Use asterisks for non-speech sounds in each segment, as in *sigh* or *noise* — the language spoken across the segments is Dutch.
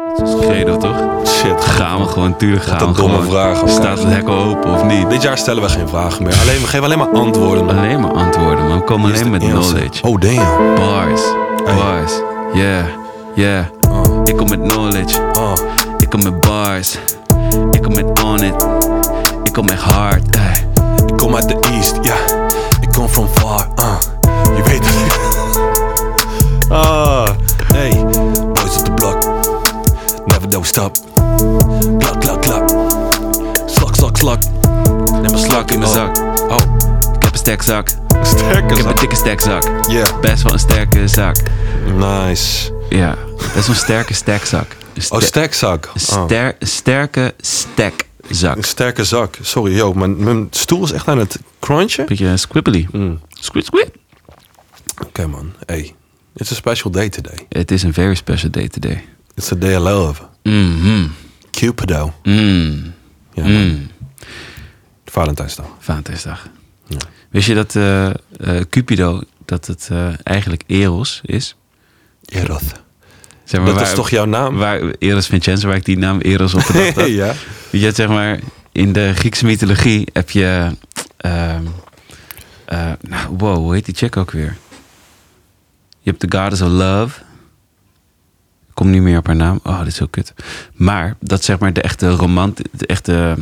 Het is Credo toch? Shit. Gaan we gewoon, tuurlijk gaan Wat een we domme gewoon. vraag, oké. Staat het hek al open of niet? Dit jaar stellen we geen vragen meer. Alleen, we geven alleen maar antwoorden. Alleen maar antwoorden, man. We komen Hier is alleen met de eerste. knowledge. Oh, damn. Bars, Hey. bars, yeah, yeah. Oh, Ik kom met knowledge, oh. ik kom met bars. Ik kom met on it, ik kom echt hard, ey. Ik kom uit de East, ja. Ik kom from far, ah. Je weet het. *laughs* ah, hey. Boys op de blok. Never don't stop. Klak, klak, klak. Slak, slak, slak. Neem een slak in In de mijn zak, zak. Oh, ik heb een sterkzak. Ik sterke heb een zak. dikke sterkzak. Yeah. Best wel een sterke zak. Nice. Ja, best wel een sterke stekzak. Een Oh, ste- sterkzak. een Oh. ster- een sterke stekzak. Een sterke zak. Sorry, yo. Mijn, mijn stoel is echt aan het crunchen. Beetje eh, squibbly. Mm. Squid, squid. Oké, man. Hey. It's a special day today. Het is een very special day today. It's a day of love. Mhm. Cupido. Mm. Ja, Mm. Valentijnsdag. Valentijnsdag. Ja. Wist je dat eh, eh, Cupido, dat het eh, eigenlijk Eros is? Eros. Zeg Dat is toch jouw naam? *laughs* Waar, Eros Vincenzo, waar ik die naam Eros op gedacht had. ja. Weet je, zeg maar, in de Griekse mythologie heb je... ehm, eh, nou, wow, hoe heet die chick ook weer? Je hebt de goddess of love. Ik kom niet meer op haar naam. Oh, dit is zo kut. Maar dat is zeg maar de echte, romant, de echte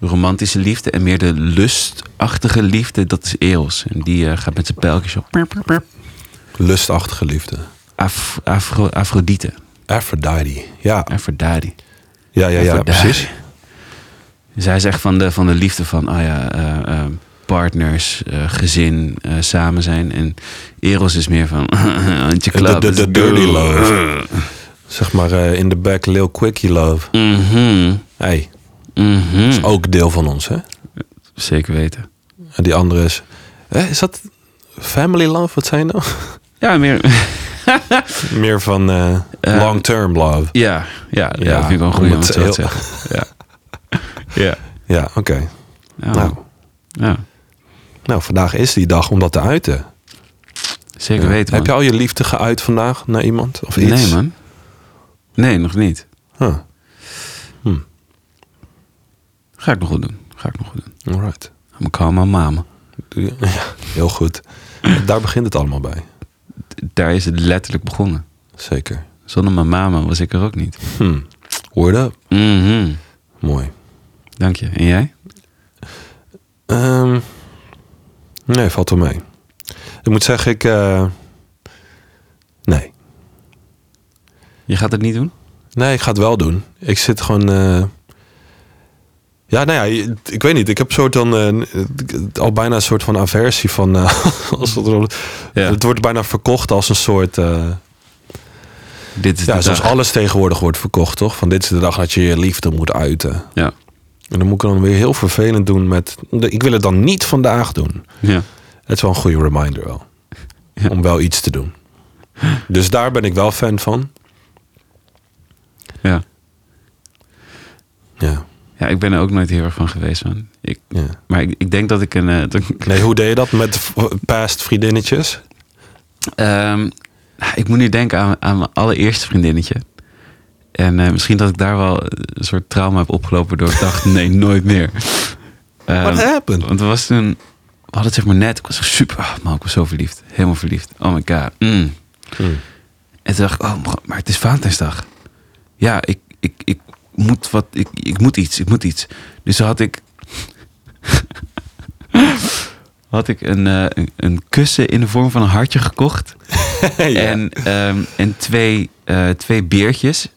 romantische liefde en meer de lustachtige liefde, dat is Eros. En die eh, gaat met zijn pijltjes op. Pirp, pirp, pirp. Lustachtige liefde. Af, afro, Afrodite. Aphrodite. Ja, Aphrodite. ja, ja, ja, Aphrodite. precies. Zij zegt van de, van de liefde van ah ja, eh, eh, partners, eh, gezin, eh, samen zijn. En Eros is meer van *laughs* handje De, de, klap. de, let's dirty go. love. Zeg maar eh, in the back, Lil Quickie love. Mhm, Hey, mhm. is ook deel van ons, hè? Zeker weten. En die andere is... Eh, is dat family love? Wat zijn nou? *laughs* Ja, meer, *laughs* Meer van eh, Eh, long-term love. ja, ja, ja, Ja, dat vind ik wel een goede om omdat het zo te heel- *laughs* zeggen. Ja. ja. Ja, oké. Nou, Nou. ja, Nou, vandaag is die dag om dat te uiten. zeker Ja. weten, man. Heb je al je liefde geuit vandaag naar iemand? Of iets? Ah, Nee, man. Nee, nog niet. Huh. Ga ik nog goed doen. Ga ik nog goed doen. Alright. I'm calm, my mama. Doe je- Ja, heel goed. Daar begint het allemaal bij. Daar is het letterlijk begonnen. Zeker. Zonder mijn mama was ik er ook niet. Hm. Word up. Mhm. Mooi. Dank je. En jij? Ehm, nee, valt wel mee. Ik moet zeggen, ik... eh, nee. Je gaat het niet doen? Nee, ik ga het wel doen. Ik zit gewoon... eh, ja, nou ja, je- ik weet niet. Ik heb soort dan eh, al bijna een soort van aversie van... eh, *laughs* als dat er- Ja. Het wordt bijna verkocht als een soort... eh, Dit is ja, de zoals dag. Dus alles tegenwoordig wordt verkocht, toch? Van dit is de dag dat je je liefde moet uiten. Ja. En dan moet ik dan weer heel vervelend doen met... Ik wil het dan niet vandaag doen. ja. Het is wel een goede reminder wel. Ja. Om wel iets te doen. Dus daar ben ik wel fan van. Ja. Ja, Ja, ik ben er ook nooit heel erg van geweest, man. Ik, ja. maar ik, ik denk dat ik een... eh, dat ik- Nee, hoe deed je dat met v- past vriendinnetjes? Ehm, ik moet nu denken aan, aan mijn allereerste vriendinnetje. En eh, misschien dat ik daar wel eh, een soort trauma heb opgelopen door ik dacht, *laughs* nee, nooit meer. What Ehm, happened? Want er was toen... We hadden het zeg maar net. Ik was echt super... ah, man, ik was zo verliefd. Helemaal verliefd. Oh my god. Mm. *laughs* Hmm. En toen dacht ik, oh, maar- maar het is Valentijnsdag. Ja, ik, ik, ik, moet wat, ik, ik moet iets, ik moet iets. Dus toen had ik... *laughs* had ik een, eh, een, een kussen in de vorm van een hartje gekocht. En, ehm, en twee, eh, twee beertjes.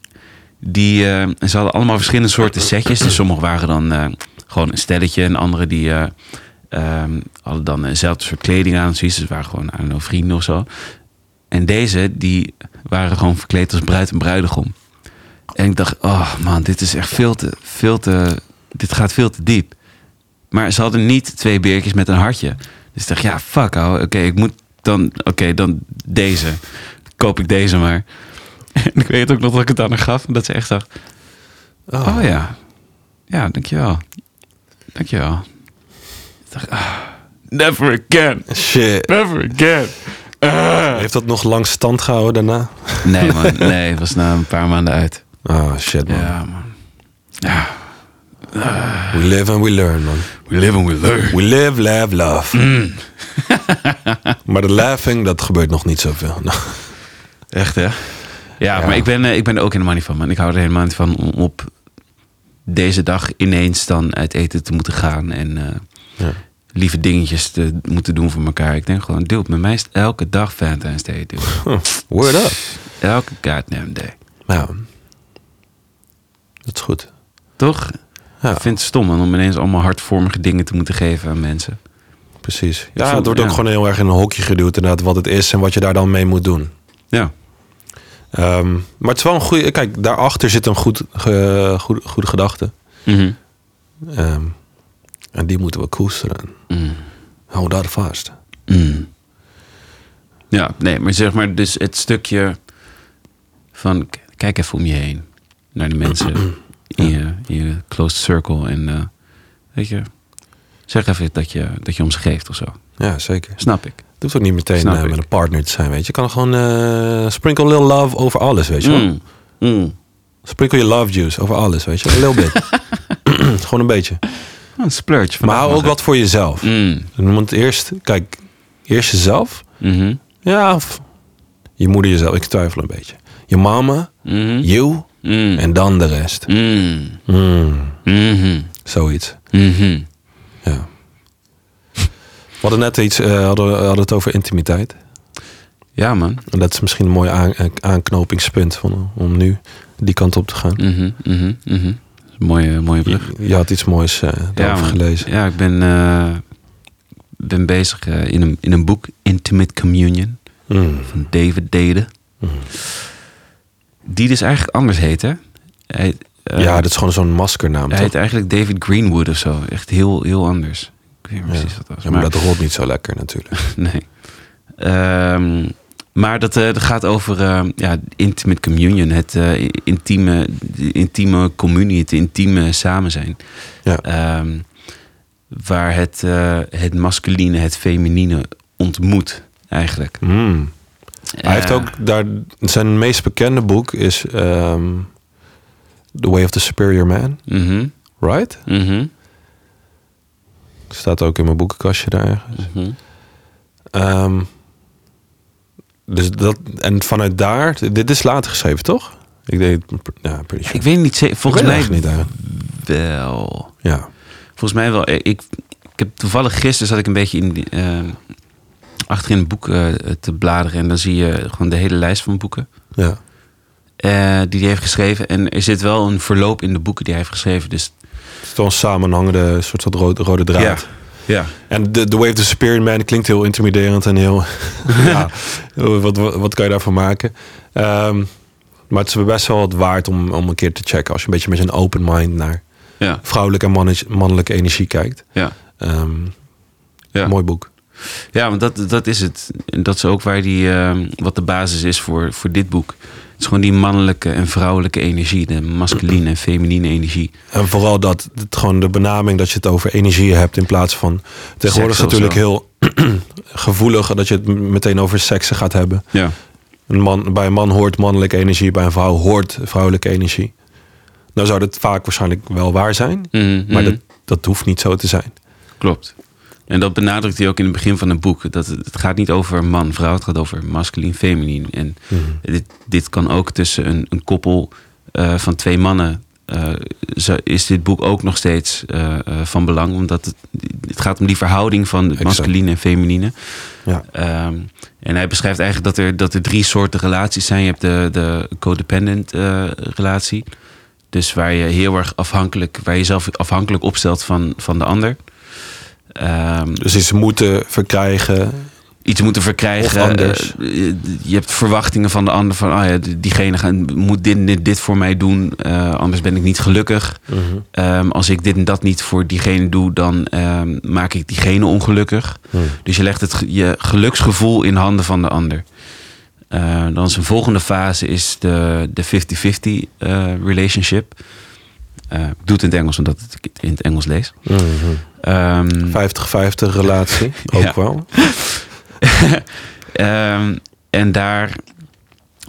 Die, eh, en ze hadden allemaal verschillende soorten setjes. Dus sommige waren dan eh, gewoon een stelletje. En andere die eh, ehm, hadden dan eenzelfde soort kleding aan. Zoiets. Dus waren gewoon aan hun vrienden of zo. En deze, die waren gewoon verkleed als bruid en bruidegom. En ik dacht, oh man, dit is echt veel te, veel te, dit gaat veel te diep. Maar ze hadden niet twee beertjes met een hartje. Dus ik dacht, ja, fuck, ouwe. oké, ik moet dan, oké, dan deze. Koop ik deze maar. *laughs* En ik weet ook nog dat ik het aan haar gaf. en Dat ze echt dacht, Oh, oh ja, ja, dankjewel. Dankjewel. Ik dacht, ah, never again, Shit. never again. Ah. Heeft dat nog lang stand gehouden daarna? Nee, man. Nee, het was na een paar maanden uit. Oh shit, man. Ja, man. We live and we learn, man. We live and we learn. We live, laugh, love. Hmm. *laughs* maar de laughing, dat gebeurt nog niet zoveel. *laughs* Echt, hè? Ja, maar ik ben, eh, ik ben er ook helemaal niet van, man. Ik hou er helemaal niet van om op deze dag ineens dan uit eten te moeten gaan. En eh, Ja. lieve dingetjes te moeten doen voor elkaar. Ik denk gewoon, dude, met mij is het elke dag Valentine's Day, dude. Word up. Elke goddamn day. Nou, dat is goed. Toch? Ja. Ik vind het stom man, om ineens allemaal hardvormige dingen te moeten geven aan mensen. Precies. Ik Ja, voel- het wordt ook ja. gewoon heel erg in een hokje geduwd inderdaad wat het is en wat je daar dan mee moet doen. Ja. Ehm, maar het is wel een goede... Kijk, daarachter zit een goed, ge- goede, goede gedachte. Mhm. Ehm, en die moeten we koesteren. Mm. Hou daar vast. Mm. Ja, nee, maar zeg maar, dus het stukje van k- kijk even om je heen naar de mensen *clears throat* in je, in je closed circle en eh, weet je, zeg even dat je, dat je om ze geeft of zo. Ja, zeker. Snap ik. Het hoeft ook niet meteen Snap eh, ik. met een partner te zijn, weet je. Je kan gewoon eh, sprinkle a little love over alles, weet je wel. Mm. Mm. Sprinkle je love juice over alles, weet je. wel. A *laughs* little bit. *clears throat* gewoon een beetje. Oh, een splurge. Maar vandaag hou ook nog. wat voor jezelf. Mm. Dan moet het eerst... Kijk, eerst jezelf. Mhm. Ja, of je moeder jezelf. Ik twijfel een beetje. Je mama, Mhm. you Mm. en dan de rest. Mm. Mm, Mhm. zoiets. Mhm. Ja. We hadden net iets, eh, hadden, we hadden het over intimiteit. Ja, man. En dat is misschien een mooi aan- eh, aanknopingspunt van, om nu die kant op te gaan. Mhm. Mhm. Mhm. Dat is een Mooie, mooie brug. Je, je had iets moois eh, daarover man. gelezen. Ja, ik ben, eh, ben bezig eh, in, een, in een boek, Intimate Communion, Mm, van David Dede. mm. Die dus eigenlijk anders heet, hè? Hij, eh, ja, dat is gewoon zo'n maskernaam. hij toch? heet eigenlijk David Greenwood of zo. Echt heel, heel anders. Ik weet niet precies wat dat was. Ja, maar dat rolt niet zo lekker natuurlijk. *laughs* Nee. Ehm, maar dat, eh, dat gaat over ehm, ja, intimate communion, het eh, intieme, de intieme communie, het intieme samen zijn. *laughs* Ja. Ehm, waar het, eh, het masculine, het feminine ontmoet eigenlijk. Mm. Hij heeft Eh, ook daar, zijn meest bekende boek is ehm, The Way of the Superior Man, mhm, right? mhm, Staat ook in mijn boekenkastje daar ergens. mhm. Ehm, dus dat, en vanuit daar, dit is later geschreven toch? Ik deed, ja, pretty sure. Ik weet niet zeker, volgens weet mij het eigenlijk niet eigenlijk. wel. Ja. Volgens mij wel. Eh, Ik, ik heb toevallig gisteren zat ik een beetje in, die, eh, achterin een boek eh, te bladeren en dan zie je gewoon de hele lijst van boeken. ja. eh, die hij heeft geschreven. En er zit wel een verloop in de boeken die hij heeft geschreven. Dus Het is toch een samenhangende soort van rode, rode draad. ja. En de, The Way of the Superior Man klinkt heel intimiderend en *laughs* heel... ja, wat, wat, wat kan je daarvan maken? Ehm, maar het is best wel wat waard om, om een keer te checken. Als je een beetje met een open mind naar Ja. vrouwelijke en mannetje- mannelijke energie kijkt. Ja. Ehm, Ja. Mooi boek. ja, want dat, dat is het. En dat is ook waar die, eh, wat de basis is voor, voor dit boek. Het is gewoon die mannelijke en vrouwelijke energie. De masculine en feminine energie. En vooral dat, het gewoon de benaming dat je het over energie hebt in plaats van... Tegenwoordig is Seks het of natuurlijk heel *clears throat* gevoelig dat je het m- meteen over seksen gaat hebben. Ja. Een man, bij een man hoort mannelijke energie, bij een vrouw hoort vrouwelijke energie. Nou zou dat vaak waarschijnlijk wel waar zijn, Mhm. maar dat, dat hoeft niet zo te zijn. klopt. En dat benadrukt hij ook in het begin van het boek. Dat het, het gaat niet over man, vrouw. Het gaat over masculine, feminine. En Mhm. dit, dit kan ook tussen een, een koppel eh, van twee mannen. eh, zo is dit boek ook nog steeds eh, eh, van belang. Omdat het, het gaat om die verhouding van Exact. masculine en feminine. Ja. Ehm, en hij beschrijft eigenlijk dat er, dat er drie soorten relaties zijn. Je hebt de, de codependent eh, relatie. Dus waar je heel erg afhankelijk, waar je jezelf afhankelijk opstelt van, van de ander. Ehm, Dus iets moeten verkrijgen. iets moeten verkrijgen. Of anders. Eh, eh, je hebt verwachtingen van de ander. Van ah ja, die- diegene gaan, moet dit, dit, dit voor mij doen. eh, anders ben ik niet gelukkig. Ehm, als ik dit en dat niet voor diegene doe, dan ehm, maak ik diegene ongelukkig. Dus je legt het, ge- je geluksgevoel in handen van de ander. Eh, dan is een volgende fase is de, de 50-50 eh, relationship. Eh, ik doe het in het Engels, omdat ik het in het Engels lees. Ehm, *laughs* 50-50 relatie, ook Ja. wel. *laughs* Ehm, en daar,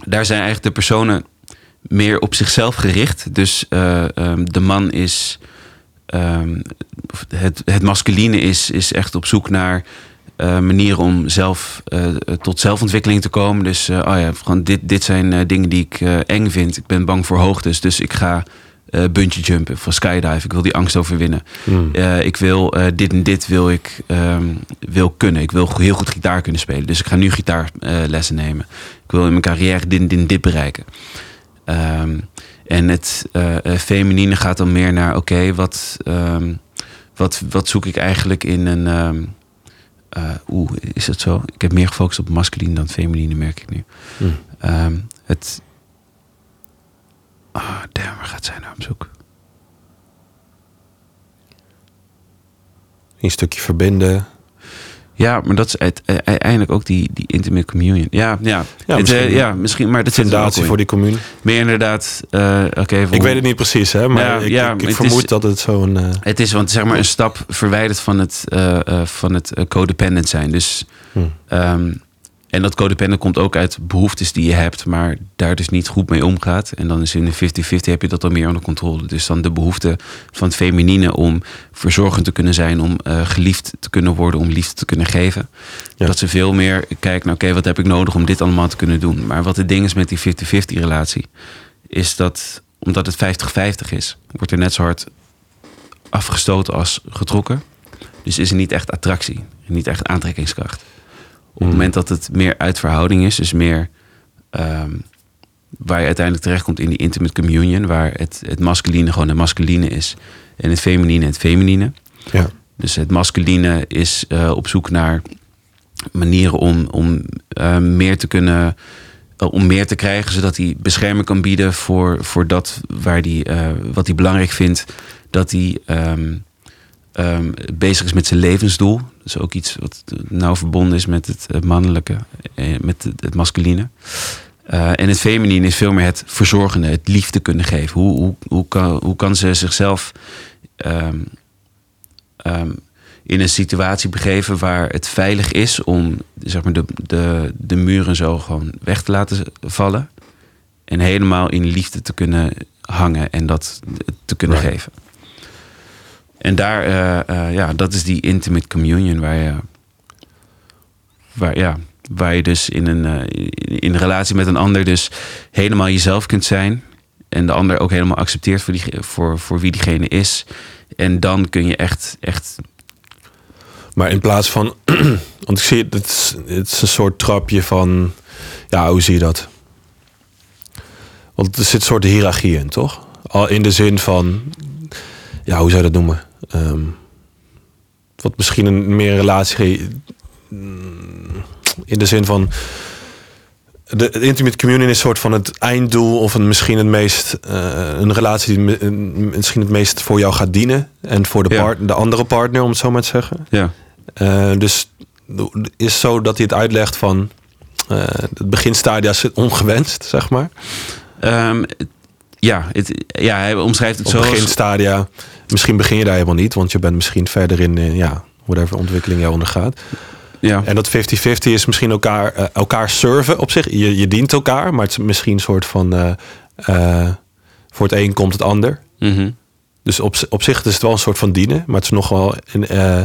daar zijn eigenlijk de personen meer op zichzelf gericht. Dus eh, ehm, de man is. ehm, of het, het masculine is, is echt op zoek naar eh, manieren om zelf eh, tot zelfontwikkeling te komen. Dus eh, oh ja, gewoon dit, dit zijn eh, dingen die ik eh, eng vind. Ik ben bang voor hoogtes. Dus ik ga eh bungee jumpen of skydive. Ik wil die angst overwinnen. Eh, ik wil eh, dit en dit wil ik ehm, wil kunnen. Ik wil go- heel goed gitaar kunnen spelen. Dus ik ga nu gitaarlessen nemen. Ik wil in mijn carrière dit en dit, en dit bereiken. Ehm, en het eh, eh, feminine gaat dan meer naar: oké, wat, ehm, wat, wat zoek ik eigenlijk in een. ehm, eh, Oeh, is dat zo? Ik heb meer gefocust op masculine dan feminine, merk ik nu. Hmm. Ehm, het. Ah, damn, waar gaat zij nou op zoek? Een stukje verbinden. Ja, maar dat is uit- e- e- uiteindelijk ook die, die intimate communion. Ja, ja. Ja, Het, misschien- eh, ja misschien, maar dat zit er ook Fundatie in. voor die commune. Meer inderdaad, eh, oké. Ik vol- weet het niet precies, hè, maar Ja, ik, ja, ik, ik het is- vermoed dat het zo'n... eh, Het is, want zeg maar, een stap verwijderd van het, eh, eh, van het eh, codependent zijn. Dus, Hmm. ehm, en dat codependent komt ook uit behoeftes die je hebt, maar daar dus niet goed mee omgaat. En dan is in de 50-50 heb je dat dan meer onder controle. Dus dan de behoefte van het feminine om verzorgend te kunnen zijn, om eh, geliefd te kunnen worden, om liefde te kunnen geven. Ja. Dat ze veel meer kijken naar, oké, wat heb ik nodig om dit allemaal te kunnen doen? Maar wat het ding is met die 50-50 relatie, is dat omdat het 50-50 is, wordt er net zo hard afgestoten als getrokken. Dus is er niet echt attractie, niet echt aantrekkingskracht. Op het Hmm. moment dat het meer uit verhouding is, dus meer ehm, waar je uiteindelijk terechtkomt in die intimate communion, waar het, het masculine gewoon het masculine is en het feminine het feminine. ja. Dus het masculine is eh, op zoek naar manieren om, om eh, meer te kunnen. eh, om meer te krijgen, zodat hij bescherming kan bieden voor, voor dat waar die, eh, wat hij belangrijk vindt. Dat hij ehm, ehm, bezig is met zijn levensdoel. Dat is ook iets wat eh, nauw verbonden is met het eh, mannelijke, eh, met het, het masculine. Eh, en het feminine is veel meer het verzorgende, het liefde kunnen geven. Hoe, hoe, hoe, kan, hoe kan ze zichzelf ehm, ehm, in een situatie begeven waar het veilig is om zeg maar, de, de, de muren zo gewoon weg te laten vallen. En helemaal in liefde te kunnen hangen en dat te kunnen Right. geven. En daar, eh, eh, ja, dat is die intimate communion waar je, waar, ja, waar je dus in een, eh, in, in relatie met een ander dus helemaal jezelf kunt zijn. En de ander ook helemaal accepteert voor, die, voor, voor wie diegene is. En dan kun je echt, echt Maar in plaats van... *clears throat* want ik zie, het is, het is een soort trapje van... Ja, hoe zie je dat? Want er zit een soort hiërarchie in, toch? Al in de zin van... Ja, hoe zou je dat noemen? Ehm, wat misschien een meer relatie... mm, In de zin van... De, de intimate communion is een soort van het einddoel of een, misschien het meest eh, een relatie die mi- misschien het meest voor jou gaat dienen en voor de, Ja. part, de andere partner om het zo maar te zeggen. Ja, Eh, dus het is zo dat hij het uitlegt van eh, het beginstadia is ongewenst, zeg maar. Ehm, het- ja, het, ja hij omschrijft het Of zo. als- beginstadia, misschien begin je daar helemaal niet, want je bent misschien verder in, eh, ja, whatever ontwikkeling jij ondergaat. ja, En dat 50-50 is misschien elkaar, eh, elkaar serven op zich. Je, je dient elkaar, maar het is misschien een soort van, eh, eh, voor het een komt het ander. mhm. Dus op, zi- op zich is het wel een soort van dienen. Maar het is nog wel een, eh,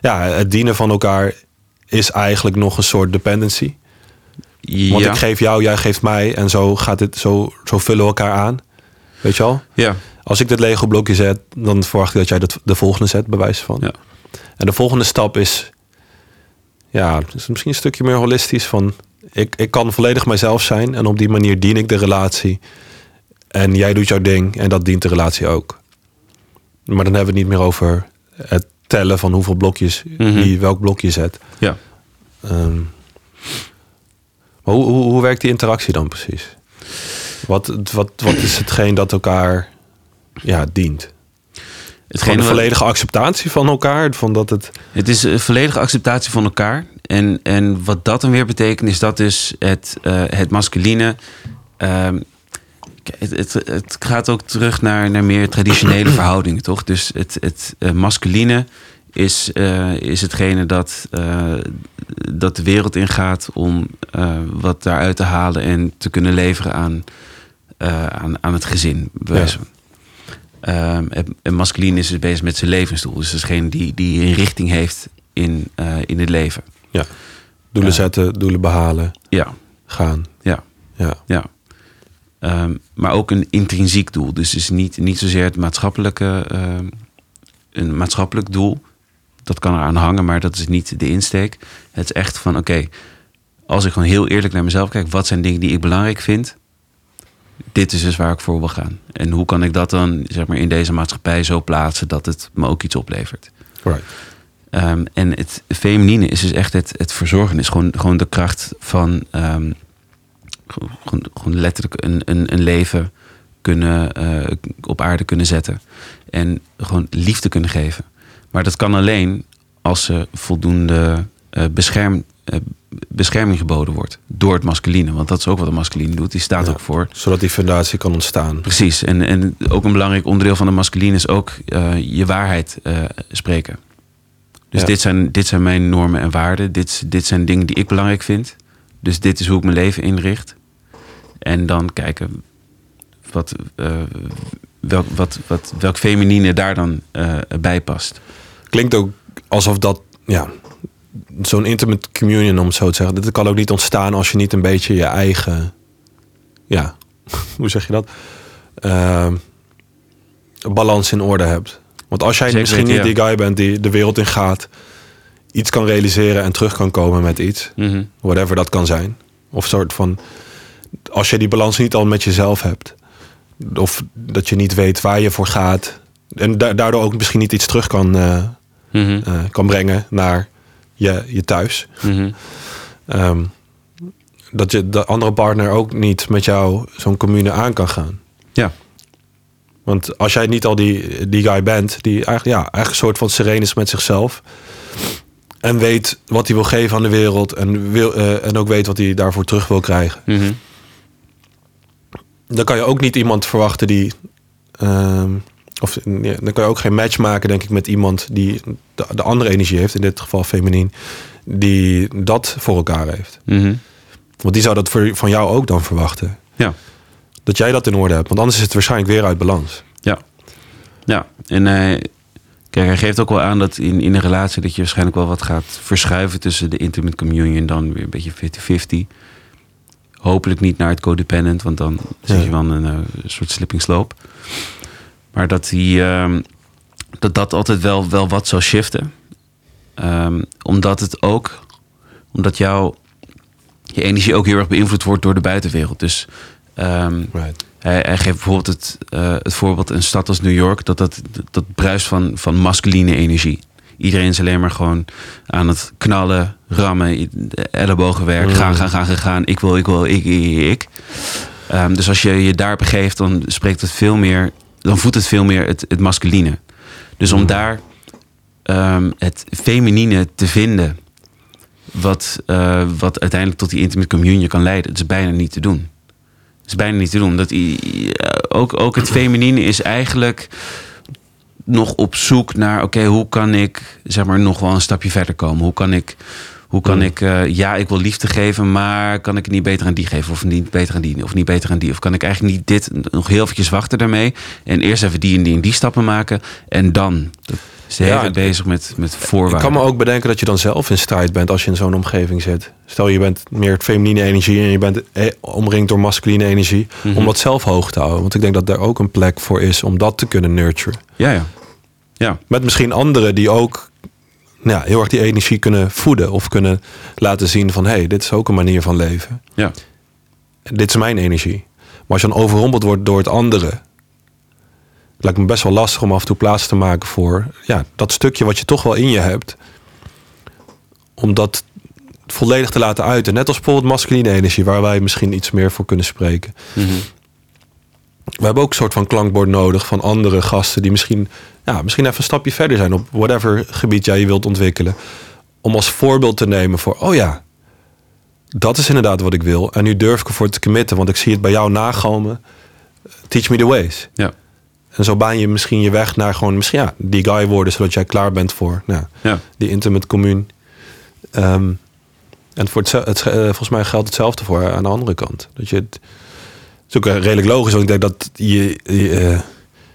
ja, het dienen van elkaar is eigenlijk nog een soort dependency. Want ja, ik geef jou, jij geeft mij. En zo, gaat het, zo, zo vullen we elkaar aan. Weet je al? ja, Als ik dit Lego blokje zet, dan verwacht ik dat jij dat, de volgende zet, bij wijze van. Ja. En de volgende stap is, ja, is misschien een stukje meer holistisch. Van, ik, ik kan volledig mijzelf zijn en op die manier dien ik de relatie. En jij doet jouw ding en dat dient de relatie ook. Maar dan hebben we het niet meer over het tellen van hoeveel blokjes, Mhm. wie welk blokje zet. ja. Ehm, maar hoe, hoe, hoe werkt die interactie dan precies? Wat, wat, wat is hetgeen dat elkaar ja, dient? Gewoon Hetgene de wat- volledige acceptatie van elkaar. Van dat het, Het is een volledige acceptatie van elkaar. En, en wat dat dan weer betekent, is dat dus het, eh, het masculine. ehm, k- het, het, het gaat ook terug naar, naar meer traditionele verhoudingen, toch? Dus het, het eh, masculine is, eh, is hetgene dat, eh, dat de wereld ingaat om eh, wat daaruit te halen en te kunnen leveren aan, eh, aan, aan het gezin. bij wijze van. Ehm, en, en masculin is dus bezig met zijn levensdoel. Dus dat is degene die, die een richting heeft in, eh, in het leven. Ja. Doelen Ja. zetten, doelen behalen, Ja, gaan. ja, Ja. ja. Ehm, maar ook een intrinsiek doel. Dus het is niet, niet zozeer het maatschappelijke, ehm, een maatschappelijk doel. Dat kan eraan hangen, maar dat is niet de insteek. Het is echt van, oké, als ik gewoon heel eerlijk naar mezelf kijk... wat zijn dingen die ik belangrijk vind? Dit is dus waar ik voor wil gaan. En hoe kan ik dat dan zeg maar, in deze maatschappij zo plaatsen... dat het me ook iets oplevert? Right. Ehm, en het feminine is dus echt het, het verzorgen. Is gewoon, gewoon de kracht van ehm, gewoon, gewoon- gewoon letterlijk een, een, een leven kunnen, eh, op aarde kunnen zetten. En gewoon liefde kunnen geven. Maar dat kan alleen als ze voldoende eh, bescherm, eh, bescherming geboden wordt. Door het masculine. Want dat is ook wat de masculine doet. Die staat Ja. ook voor Zodat die fundatie kan ontstaan. Precies. En, en ook een belangrijk onderdeel van de masculine is ook eh, je waarheid eh, spreken. Dus Ja. dit, zijn, dit zijn mijn normen en waarden. Dit, is- dit zijn dingen die ik belangrijk vind. Dus dit is hoe ik mijn leven inricht. En dan kijken wat, eh, welk, wat, wat, welk feminine daar dan eh, bij past. Klinkt ook alsof dat, ja, zo'n intimate communion om het zo te zeggen. Dit kan ook niet ontstaan als je niet een beetje je eigen, ja, *laughs* hoe zeg je dat? Ehm, balans in orde hebt. Want als jij Zeker misschien niet weten, ja. die guy bent die de wereld in gaat, iets kan realiseren en terug kan komen met iets. Mhm. whatever dat kan zijn. Of soort van, als je die balans niet al met jezelf hebt, of dat je niet weet waar je voor gaat, en da- daardoor ook misschien niet iets terug kan, eh, Mhm. eh, kan brengen naar je, je thuis. Mhm. Ehm, dat je de andere partner ook niet met jou zo'n commune aan kan gaan. Ja. Want als jij niet al die, die guy bent, die eigenlijk, ja, eigenlijk een soort van sereen is met zichzelf. En weet wat hij wil geven aan de wereld. En, wil, eh, en ook weet wat hij daarvoor terug wil krijgen. Mhm. Dan kan je ook niet iemand verwachten die. ehm, of ja, dan kan je ook geen match maken, denk ik, met iemand die de, de andere energie heeft. In dit geval feminien. Die dat voor elkaar heeft. Mhm. Want die zou dat voor, van jou ook dan verwachten. Ja. Dat jij dat in orde hebt. Want anders is het waarschijnlijk weer uit balans. Ja. Ja. En eh, kijk, hij geeft ook wel aan dat in, in een relatie dat je waarschijnlijk wel wat gaat verschuiven tussen de intimate communion dan weer een beetje 50-50. Hopelijk niet naar het codependent, want dan zit je wel in een eh, soort slipping slope. Maar dat, die, ehm, dat dat altijd wel, wel wat zou shiften. Ehm, omdat het ook, omdat jouw je energie ook heel erg beïnvloed wordt door de buitenwereld. Dus ehm, Right. hij, hij geeft bijvoorbeeld het, eh, het voorbeeld een stad als New York, dat, dat, dat bruist van, van masculine energie. Iedereen is alleen maar gewoon aan het knallen, rammen, i- ellebogenwerk, Mm. gaan, gaan, gaan, gaan, gaan. Ik wil, ik wil, ik, ik, ik. ik. Ehm, dus als je je daar begeeft, dan spreekt het veel meer, dan voedt het veel meer het, het masculine. Dus om daar ehm, het feminine te vinden, wat, eh, wat uiteindelijk tot die intimate communion kan leiden, dat is bijna niet te doen. Dat is bijna niet te doen. Dat, i- i- eh, ook, ook het feminine is eigenlijk nog op zoek naar... oké, hoe kan ik zeg maar, nog wel een stapje verder komen? Hoe kan ik... Hoe kan ik eh, ja, ik wil liefde geven, maar kan ik het niet beter aan die geven? Of niet beter aan die, of niet beter aan die? Of kan ik eigenlijk niet dit nog heel eventjes wachten daarmee? En eerst even die en die en die stappen maken. En dan. Dat is de hele Ja, tijd bezig met, met voorwaarden. Ik kan me ook bedenken dat je dan zelf in strijd bent als je in zo'n omgeving zit. Stel je bent meer het feminine energie en je bent eh, omringd door masculine energie. Om dat zelf hoog te houden. Want ik denk dat daar ook een plek voor is om dat te kunnen nurturen. Ja, ja. Ja, Met misschien anderen die ook nou, ja, heel erg die energie kunnen voeden. Of kunnen laten zien van hé, hey, dit is ook een manier van leven. ja. dit is mijn energie. Maar als je dan overrompeld wordt door het andere, lijkt me best wel lastig om af en toe plaats te maken voor ja, dat stukje wat je toch wel in je hebt, om dat volledig te laten uiten. Net als bijvoorbeeld masculine energie, waar wij misschien iets meer voor kunnen spreken. Mhm. We hebben ook een soort van klankbord nodig van andere gasten die misschien, ja, misschien even een stapje verder zijn op whatever gebied jij je wilt ontwikkelen. Om als voorbeeld te nemen voor, oh ja, dat is inderdaad wat ik wil. En nu durf ik ervoor te committen, want ik zie het bij jou nagomen. Teach me the ways. ja. En zo baan je misschien je weg naar gewoon misschien ja, die guy worden, zodat jij klaar bent voor nou, Ja. die intimate commune. Ehm, en voor het, het, eh, volgens mij geldt hetzelfde voor aan de andere kant. Dat je het, het is ook eh, redelijk logisch, want ik denk dat je, je eh,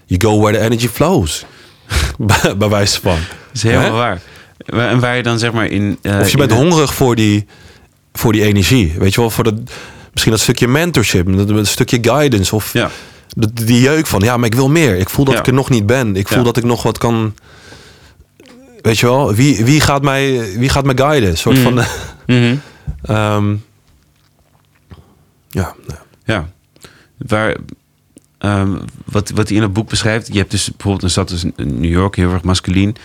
you go where the energy flows. *laughs* Bij- Bij wijze van. Dat is helemaal Hè? waar. Wa- En waar je dan zeg maar in... eh, Of je in bent het- hongerig voor die, voor die energie. Weet je wel, voor dat, misschien dat stukje mentorship, dat, dat stukje guidance. Of Ja. dat- die jeuk van, ja, maar ik wil meer. Ik voel dat Ja. ik er nog niet ben. Ik voel Ja. dat ik nog wat kan. Weet je wel, wie, wie, gaat, mij, wie gaat mij guiden? Een soort Mm. van. *laughs* Mhm. ehm, ja, nou, Ja. Waar, ehm, wat, wat hij in het boek beschrijft. Je hebt dus bijvoorbeeld een stad als New York, heel erg masculien.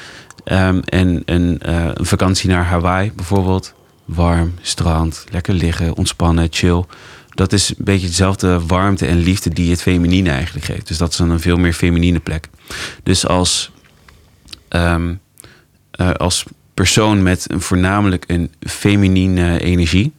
Ehm, en en eh, een vakantie naar Hawaii bijvoorbeeld. Warm, strand, lekker liggen, ontspannen, chill. Dat is een beetje dezelfde warmte en liefde die het feminine eigenlijk geeft. Dus dat is dan een veel meer feminine plek. Dus als, ehm, eh, als persoon met een, voornamelijk een feminine energie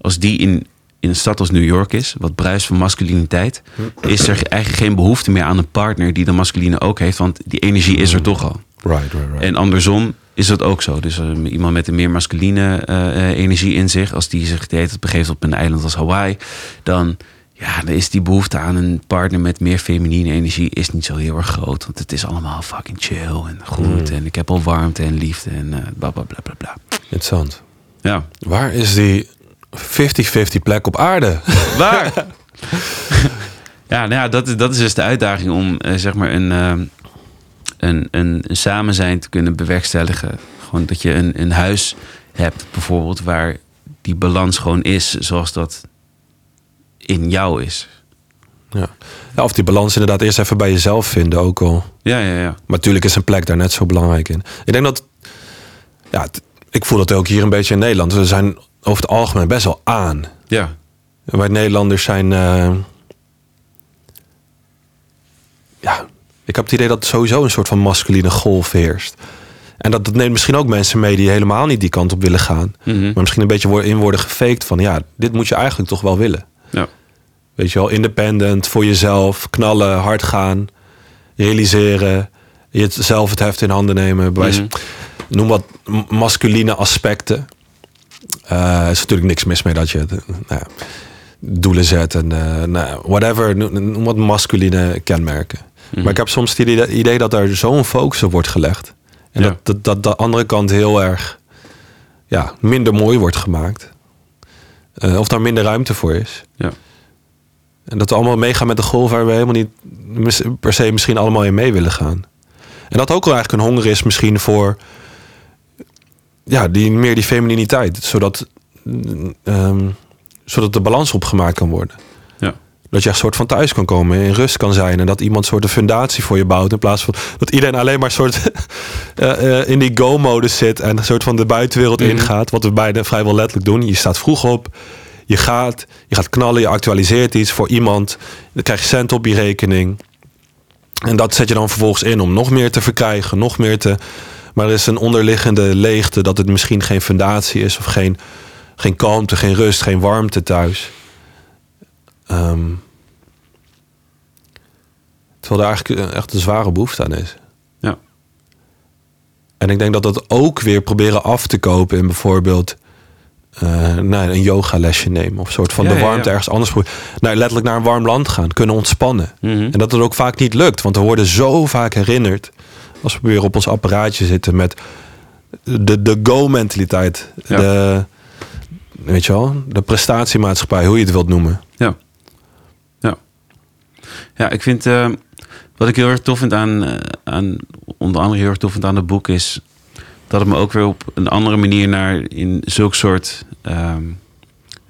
als die in, in een stad als New York is, wat bruist van masculiniteit, is er eigenlijk geen behoefte meer aan een partner die de masculine ook heeft, want die energie is er toch al. right, right, right. En andersom is dat ook zo. Dus eh, iemand met een meer masculine eh, eh, energie in zich, als die zich de hele tijd begeeft op een eiland als Hawaii, dan, ja, dan is die behoefte aan een partner met meer feminine energie is niet zo heel erg groot. Want het is allemaal fucking chill en goed en ik heb al warmte en liefde en eh, bla bla bla bla bla. Interessant. Ja, Waar is die 50-50 plek op aarde? *laughs* Waar? *laughs* ja, nou ja, dat, is- dat is dus de uitdaging om eh, zeg maar een, eh, een, een, een samen zijn te kunnen bewerkstelligen. Gewoon dat je een, een huis hebt bijvoorbeeld waar die balans gewoon is zoals dat in jou is. Ja. Ja, of die balans inderdaad eerst even bij jezelf vinden ook al. Ja, ja, ja. Maar natuurlijk is een plek daar net zo belangrijk in. Ik denk dat. Ja, het- ik voel dat ook hier een beetje in Nederland. We zijn over het algemeen best wel aan. Ja, En Wij Nederlanders zijn. eh, ja, ik heb het idee dat sowieso een soort van masculine golf heerst. En dat, dat neemt misschien ook mensen mee die helemaal niet die kant op willen gaan. Mhm. Maar misschien een beetje wo- in worden gefaked van ja, dit moet je eigenlijk toch wel willen. ja. Weet je wel, independent, voor jezelf, knallen, hard gaan, realiseren, jezelf het heft in handen nemen. Bij wijze- Noem wat m- masculine aspecten. Eh, Er is natuurlijk niks mis mee dat je eh, nou ja, doelen zet en eh, nou, ja, whatever. no- Noem wat masculine kenmerken. Maar ik heb soms het idee, idee dat daar zo'n focus op wordt gelegd. En Ja. dat, dat, dat de andere kant heel erg ja, minder mooi wordt gemaakt. Eh, of daar minder ruimte voor is. ja. En dat we allemaal meegaan met de golf waar we helemaal niet mis- per se misschien allemaal in mee willen gaan. En dat ook wel eigenlijk een honger is misschien voor ja, die, meer die femininiteit. Zodat, mm, ehm, zodat de balans opgemaakt kan worden. ja. Dat je echt soort van thuis kan komen, in rust kan zijn. En dat iemand soort een fundatie voor je bouwt. In plaats van dat iedereen alleen maar soort *laughs* eh, eh, in die go-mode zit. En een soort van de buitenwereld ingaat. Wat we beide vrijwel letterlijk doen. Je staat vroeg op. Je gaat, je gaat knallen, je actualiseert iets voor iemand. Dan krijg je cent op je rekening. En dat zet je dan vervolgens in om nog meer te verkrijgen, nog meer te. Maar er is een onderliggende leegte dat het misschien geen fundatie is of geen, geen kalmte, geen rust, geen warmte thuis. Ehm, terwijl daar eigenlijk eh, echt een zware behoefte aan is. ja. En ik denk dat dat ook weer proberen af te kopen in bijvoorbeeld eh, nou, een yogalesje nemen. Of een soort van Ja, de ja, warmte ja. ergens anders. pro- Nou, letterlijk naar een warm land gaan, kunnen ontspannen. Mhm. En dat het ook vaak niet lukt, want we worden zo vaak herinnerd. Als we weer op ons apparaatje zitten met de, de go-mentaliteit. Ja. De, weet je wel, de prestatiemaatschappij, hoe je het wilt noemen. Ja. Ja. Ja, ik vind... eh, wat ik heel erg tof vind aan, eh, aan... Onder andere heel erg tof vind aan het boek is... Dat het me ook weer op een andere manier naar... In zulk soort... ehm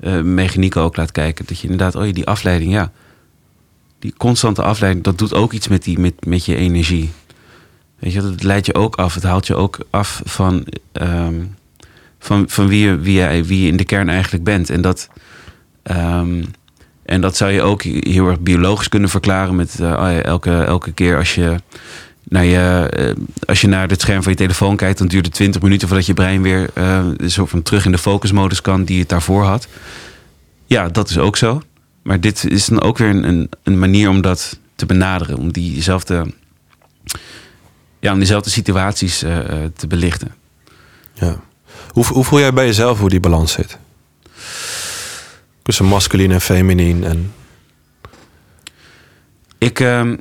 eh, mechanieken ook laat kijken. Dat je inderdaad... Oh ja, die afleiding, ja. Die constante afleiding, dat doet ook iets met, die, met, met je energie. Weet je, dat leidt je ook af. Het haalt je ook af van... ehm, van, van wie, je, wie, je, wie je in de kern eigenlijk bent. En dat... Ehm, en dat zou je ook heel erg biologisch kunnen verklaren met eh, ah ja, elke, elke keer als je naar, je, eh, als je naar het scherm van je telefoon kijkt, dan duurt het 20 minuten voordat je brein weer eh, een soort van terug in de focusmodus kan die het daarvoor had. Ja, dat is ook zo. Maar dit is dan ook weer een, een, een manier om dat te te benaderen. Om diezelfde, ja, om diezelfde situaties eh, eh, te belichten. Ja. Hoe, hoe voel jij bij jezelf hoe die balans zit? Tussen masculin en feminin. En, Ik, ehm,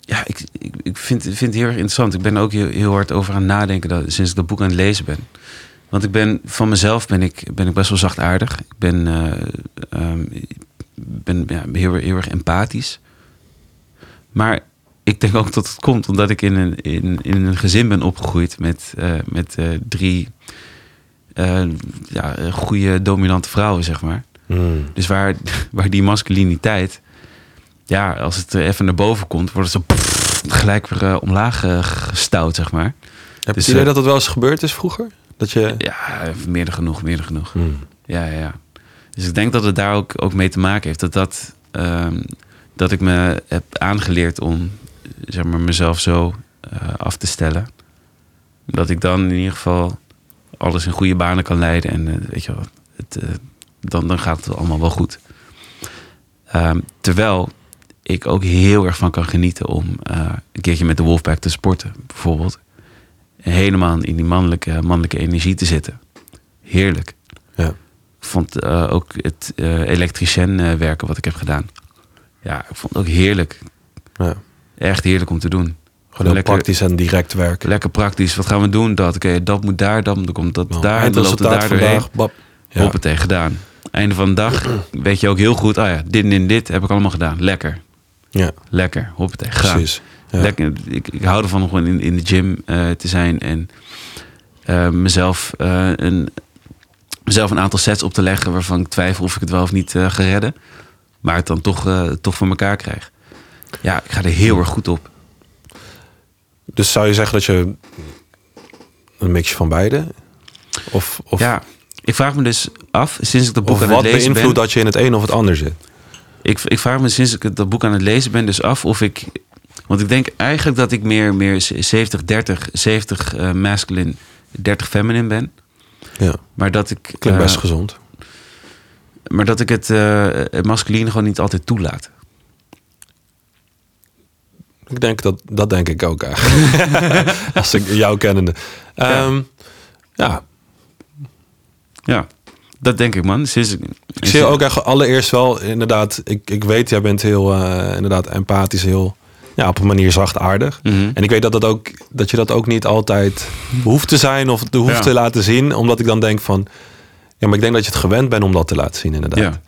ja, ik, ik, ik vind, vind het heel erg interessant. Ik ben er ook heel, heel hard over aan het nadenken dat, sinds ik dat boek aan het lezen ben. Want ik ben van mezelf ben ik, ben ik best wel zachtaardig. Ik ben, eh, ehm, ik ben ja, heel, heel erg empathisch. Maar ik denk ook dat het komt omdat ik in een, in, in een gezin ben opgegroeid met, eh, met eh, drie eh, ja, goede dominante vrouwen, zeg maar. Dus waar, *laughs* waar die masculiniteit, ja, als het er even naar boven komt, wordt het zo pff, gelijk weer eh, omlaag eh, gestouwd, zeg maar. Heb je Dus, het idee eh, dat dat wel eens gebeurd is vroeger? Dat je... Ja, meer dan genoeg, meer dan genoeg. Hmm. Ja, ja, ja. Dus ik denk dat het daar ook, ook mee te maken heeft. Dat, dat, ehm, dat ik me heb aangeleerd om eh, zeg maar, mezelf zo eh, af te stellen. Dat ik dan in ieder geval alles in goede banen kan leiden. En eh, weet je wel, het, eh, dan, dan gaat het allemaal wel goed. Ehm, terwijl ik ook heel erg van kan genieten om eh, een keertje met de Wolfpack te sporten, bijvoorbeeld. En helemaal in die mannelijke, mannelijke energie te zitten. Heerlijk. Ja. Ik vond eh, ook het eh elektricien eh, werken wat ik heb gedaan. Ja, ik vond het ook heerlijk. Ja. Echt heerlijk om te doen. Gewoon heel Lekker- praktisch en direct werken. Lekker praktisch. Wat gaan we doen? Dat. Oké, dat moet daar, dat moet komt dat Nou, daar. En dan loopt het eindresultaat daar doorheen. vandaag, bab. Ja. Hoppatee, gedaan. Einde van de *clears throat* dag weet je ook heel goed. Ah ja, dit en dit, en dit heb ik allemaal gedaan. Lekker. Ja, Lekker. Hoppatee, gaan. precies. Ja. Lekker, ik, ik hou ervan om gewoon in, in de gym eh, te zijn en eh, mezelf, eh, een, mezelf een aantal sets op te leggen waarvan ik twijfel of ik het wel of niet eh ga redden. Maar het dan toch, eh, toch voor elkaar krijg. Ja, ik ga er heel erg goed op. Dus zou je zeggen dat je een mix van beide? Of, of, ja, ik vraag me dus af, sinds ik dat boek of aan wat het lezen ben... beïnvloedt dat je in het een of het ander zit? Ik, ik vraag me sinds ik het- dat boek aan het lezen ben dus af of ik... Want ik denk eigenlijk dat ik meer, meer 70, 30, 70 eh, masculine, 30 feminine ben. Ja, Maar dat ik... klinkt eh, best gezond. Maar dat ik het, eh, het masculine gewoon niet altijd toelaat. Ik denk dat, dat denk ik *laughs* ook eigenlijk. Als ik jou kennende. Ehm, ja, Ja, dat denk ik, man. Sinds, ik Ik zie je ook echt allereerst wel inderdaad. Ik, ik weet, jij bent heel eh, inderdaad empathisch, heel ja, op een manier zachtaardig. Mhm. En ik weet dat, dat, ook, dat je dat ook niet altijd hoeft te zijn of te hoeft Ja. te laten zien. Omdat ik dan denk van. Ja, maar ik denk dat je het gewend bent om dat te laten zien, inderdaad. Ja,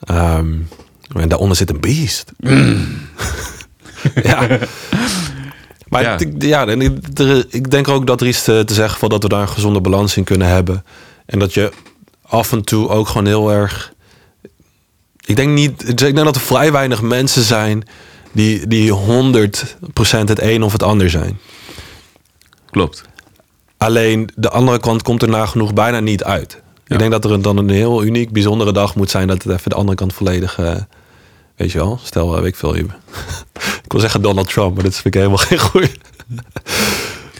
Ehm, en daaronder zit een beest. *laughs* ja. Maar Ja. Ik, ja, en ik, er- ik denk ook dat er iets eh, te, te zeggen valt dat we daar een gezonde balans in kunnen hebben. En dat je af en toe ook gewoon heel erg. Ik denk niet. Ik denk dat er vrij weinig mensen zijn die, die 100% het een of het ander zijn. klopt. Alleen de andere kant komt er nagenoeg bijna niet uit. Ja. Ik denk dat er een- dan een heel uniek, bijzondere dag moet zijn dat het even de andere kant volledig. eh, weet je wel, stel, eh, weet ik veel. je- *laughs* ik wil zeggen Donald Trump, maar dat vind ik helemaal geen goeie. *laughs*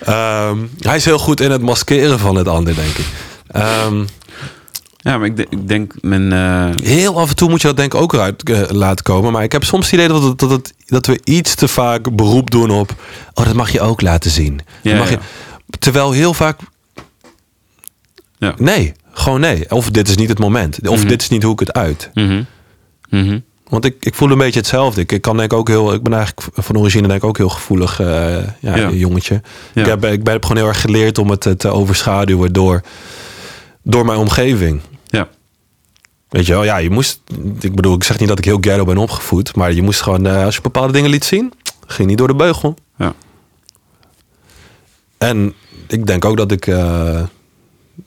Ehm, hij is heel goed in het maskeren van het ander, denk ik. Ehm, Ja, maar ik, de- ik denk mijn... eh, heel af en toe moet je dat denk ik ook eruit eh, laten komen. Maar ik heb soms het idee dat, het- dat, het- dat we iets te vaak beroep doen op... Oh, dat mag je ook laten zien. Dat Ja, mag je, ja. terwijl heel vaak ja. Nee, gewoon nee. Of dit is niet het moment. Of dit is niet hoe ik het uit. Mhm. Mhm. Want ik, ik voel een beetje hetzelfde. Ik, ik kan denk ik ook heel. Ik ben eigenlijk van origine denk ik ook heel gevoelig eh, ja, Ja. jongetje. Ja. Ik, heb, ik ben, heb gewoon heel erg geleerd om het eh, te overschaduwen door, door mijn omgeving. Ja, Weet je wel, ja, je moest. Ik bedoel, ik zeg niet dat ik heel ghetto ben opgevoed, maar je moest gewoon, eh, als je bepaalde dingen liet zien, ging niet door de beugel. ja. En ik denk ook dat ik eh,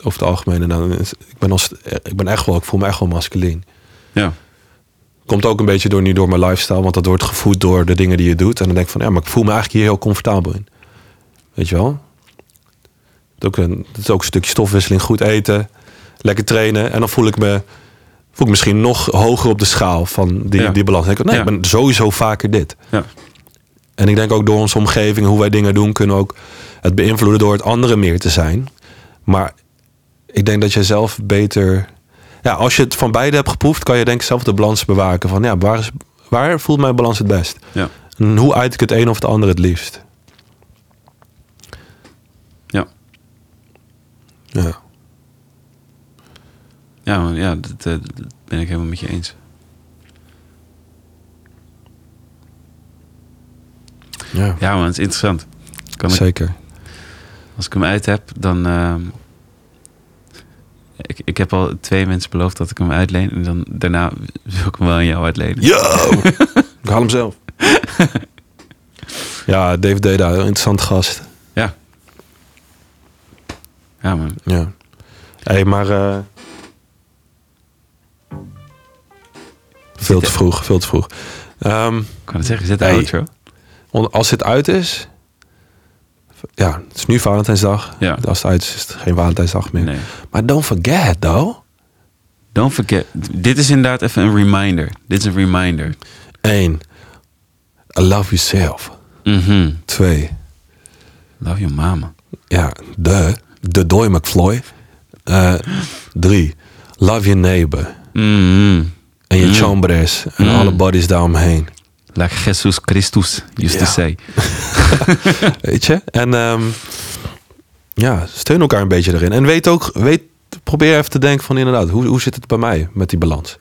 over het algemeen, nou, ik ben, als, ik ben echt wel, ik voel me echt wel masculin. Ja, Komt ook een beetje door, nu door mijn lifestyle, want dat wordt gevoed door de dingen die je doet. En dan denk ik van, ja, maar ik voel me eigenlijk hier heel comfortabel in. Weet je wel? Het is ook een, het is ook een stukje stofwisseling, goed eten, lekker trainen. En dan voel ik me, voel ik me misschien nog hoger op de schaal van die, Ja. die balans. Dan denk ik, nee, Ja. ik ben sowieso vaker dit. ja. En ik denk ook door onze omgeving, hoe wij dingen doen, kunnen we ook het beïnvloeden door het andere meer te zijn. Maar ik denk dat jij zelf beter. Ja, als je het van beide hebt geproefd, kan je denk ik zelf de balans bewaken. Van ja, waar is, waar voelt mijn balans het best? Ja. En hoe uit ik het een of het ander het liefst? Ja. Ja. Ja, man, ja dat, eh, dat ben ik helemaal met je eens. ja. Ja, man, het is interessant. Kan ik, Zeker. als ik hem uit heb, dan. ehm, ik, ik heb al twee mensen beloofd dat ik hem uitleen. En dan, daarna wil ik hem wel aan jou uitlenen. Yo! *laughs* ik haal hem zelf. ja, Dave Deda, een interessante gast. Ja, man. Ja. Hé, hey, maar... eh, veel te vroeg, veel te vroeg. Ehm, Ik kan het zeggen, zet de Hey. outro. on- als dit uit is... Ja, het is nu Valentijnsdag. Ja. Als het uit is, is het geen Valentijnsdag meer. Nee. Maar don't forget, though. Don't forget. Dit is inderdaad even een reminder. Dit is een reminder. Eén. Love yourself. Mhm. Twee. Love your mama. Ja, de. De Doy McFloy. Eh, drie. Love your neighbor. Mhm. En je chambres. En Mm. alle bodies daaromheen. Like Jesus Christus used to Ja. say. Weet je? En ehm, ja, steun elkaar een beetje erin. En weet ook, weet, probeer even te denken van inderdaad, hoe, hoe zit het bij mij met die balans?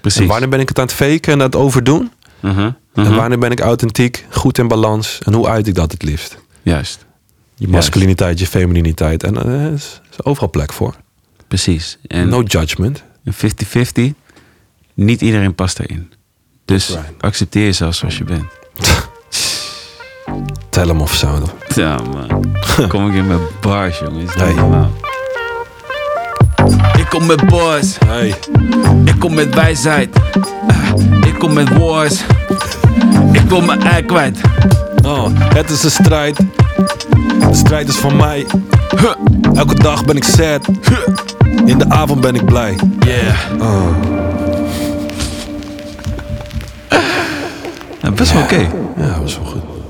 Precies. En wanneer ben ik het aan het faken en aan het overdoen? Mhm, mhm. En wanneer ben ik authentiek, goed in balans? En hoe uit ik dat het liefst? Juist. Je masculiniteit, je femininiteit. En eh, er is, er is overal plek voor. Precies. En no judgment. een 50-50, niet iedereen past erin. Dus Right. accepteer jezelf zoals je bent. Tell them of zo. Ja, *laughs* man. Kom ik in mijn bars, jongen. Is dat Hey. normaal? Ik kom met bars. Hey. Ik kom met wijsheid. Ah, Ik kom met wars. Ik wil mijn ei kwijt. Oh, het is een strijd. De strijd is van mij. Huh. Elke dag ben ik sad. Huh. In de avond ben ik blij. Yeah. Nou, best wel oké. Ja, dat was wel goed.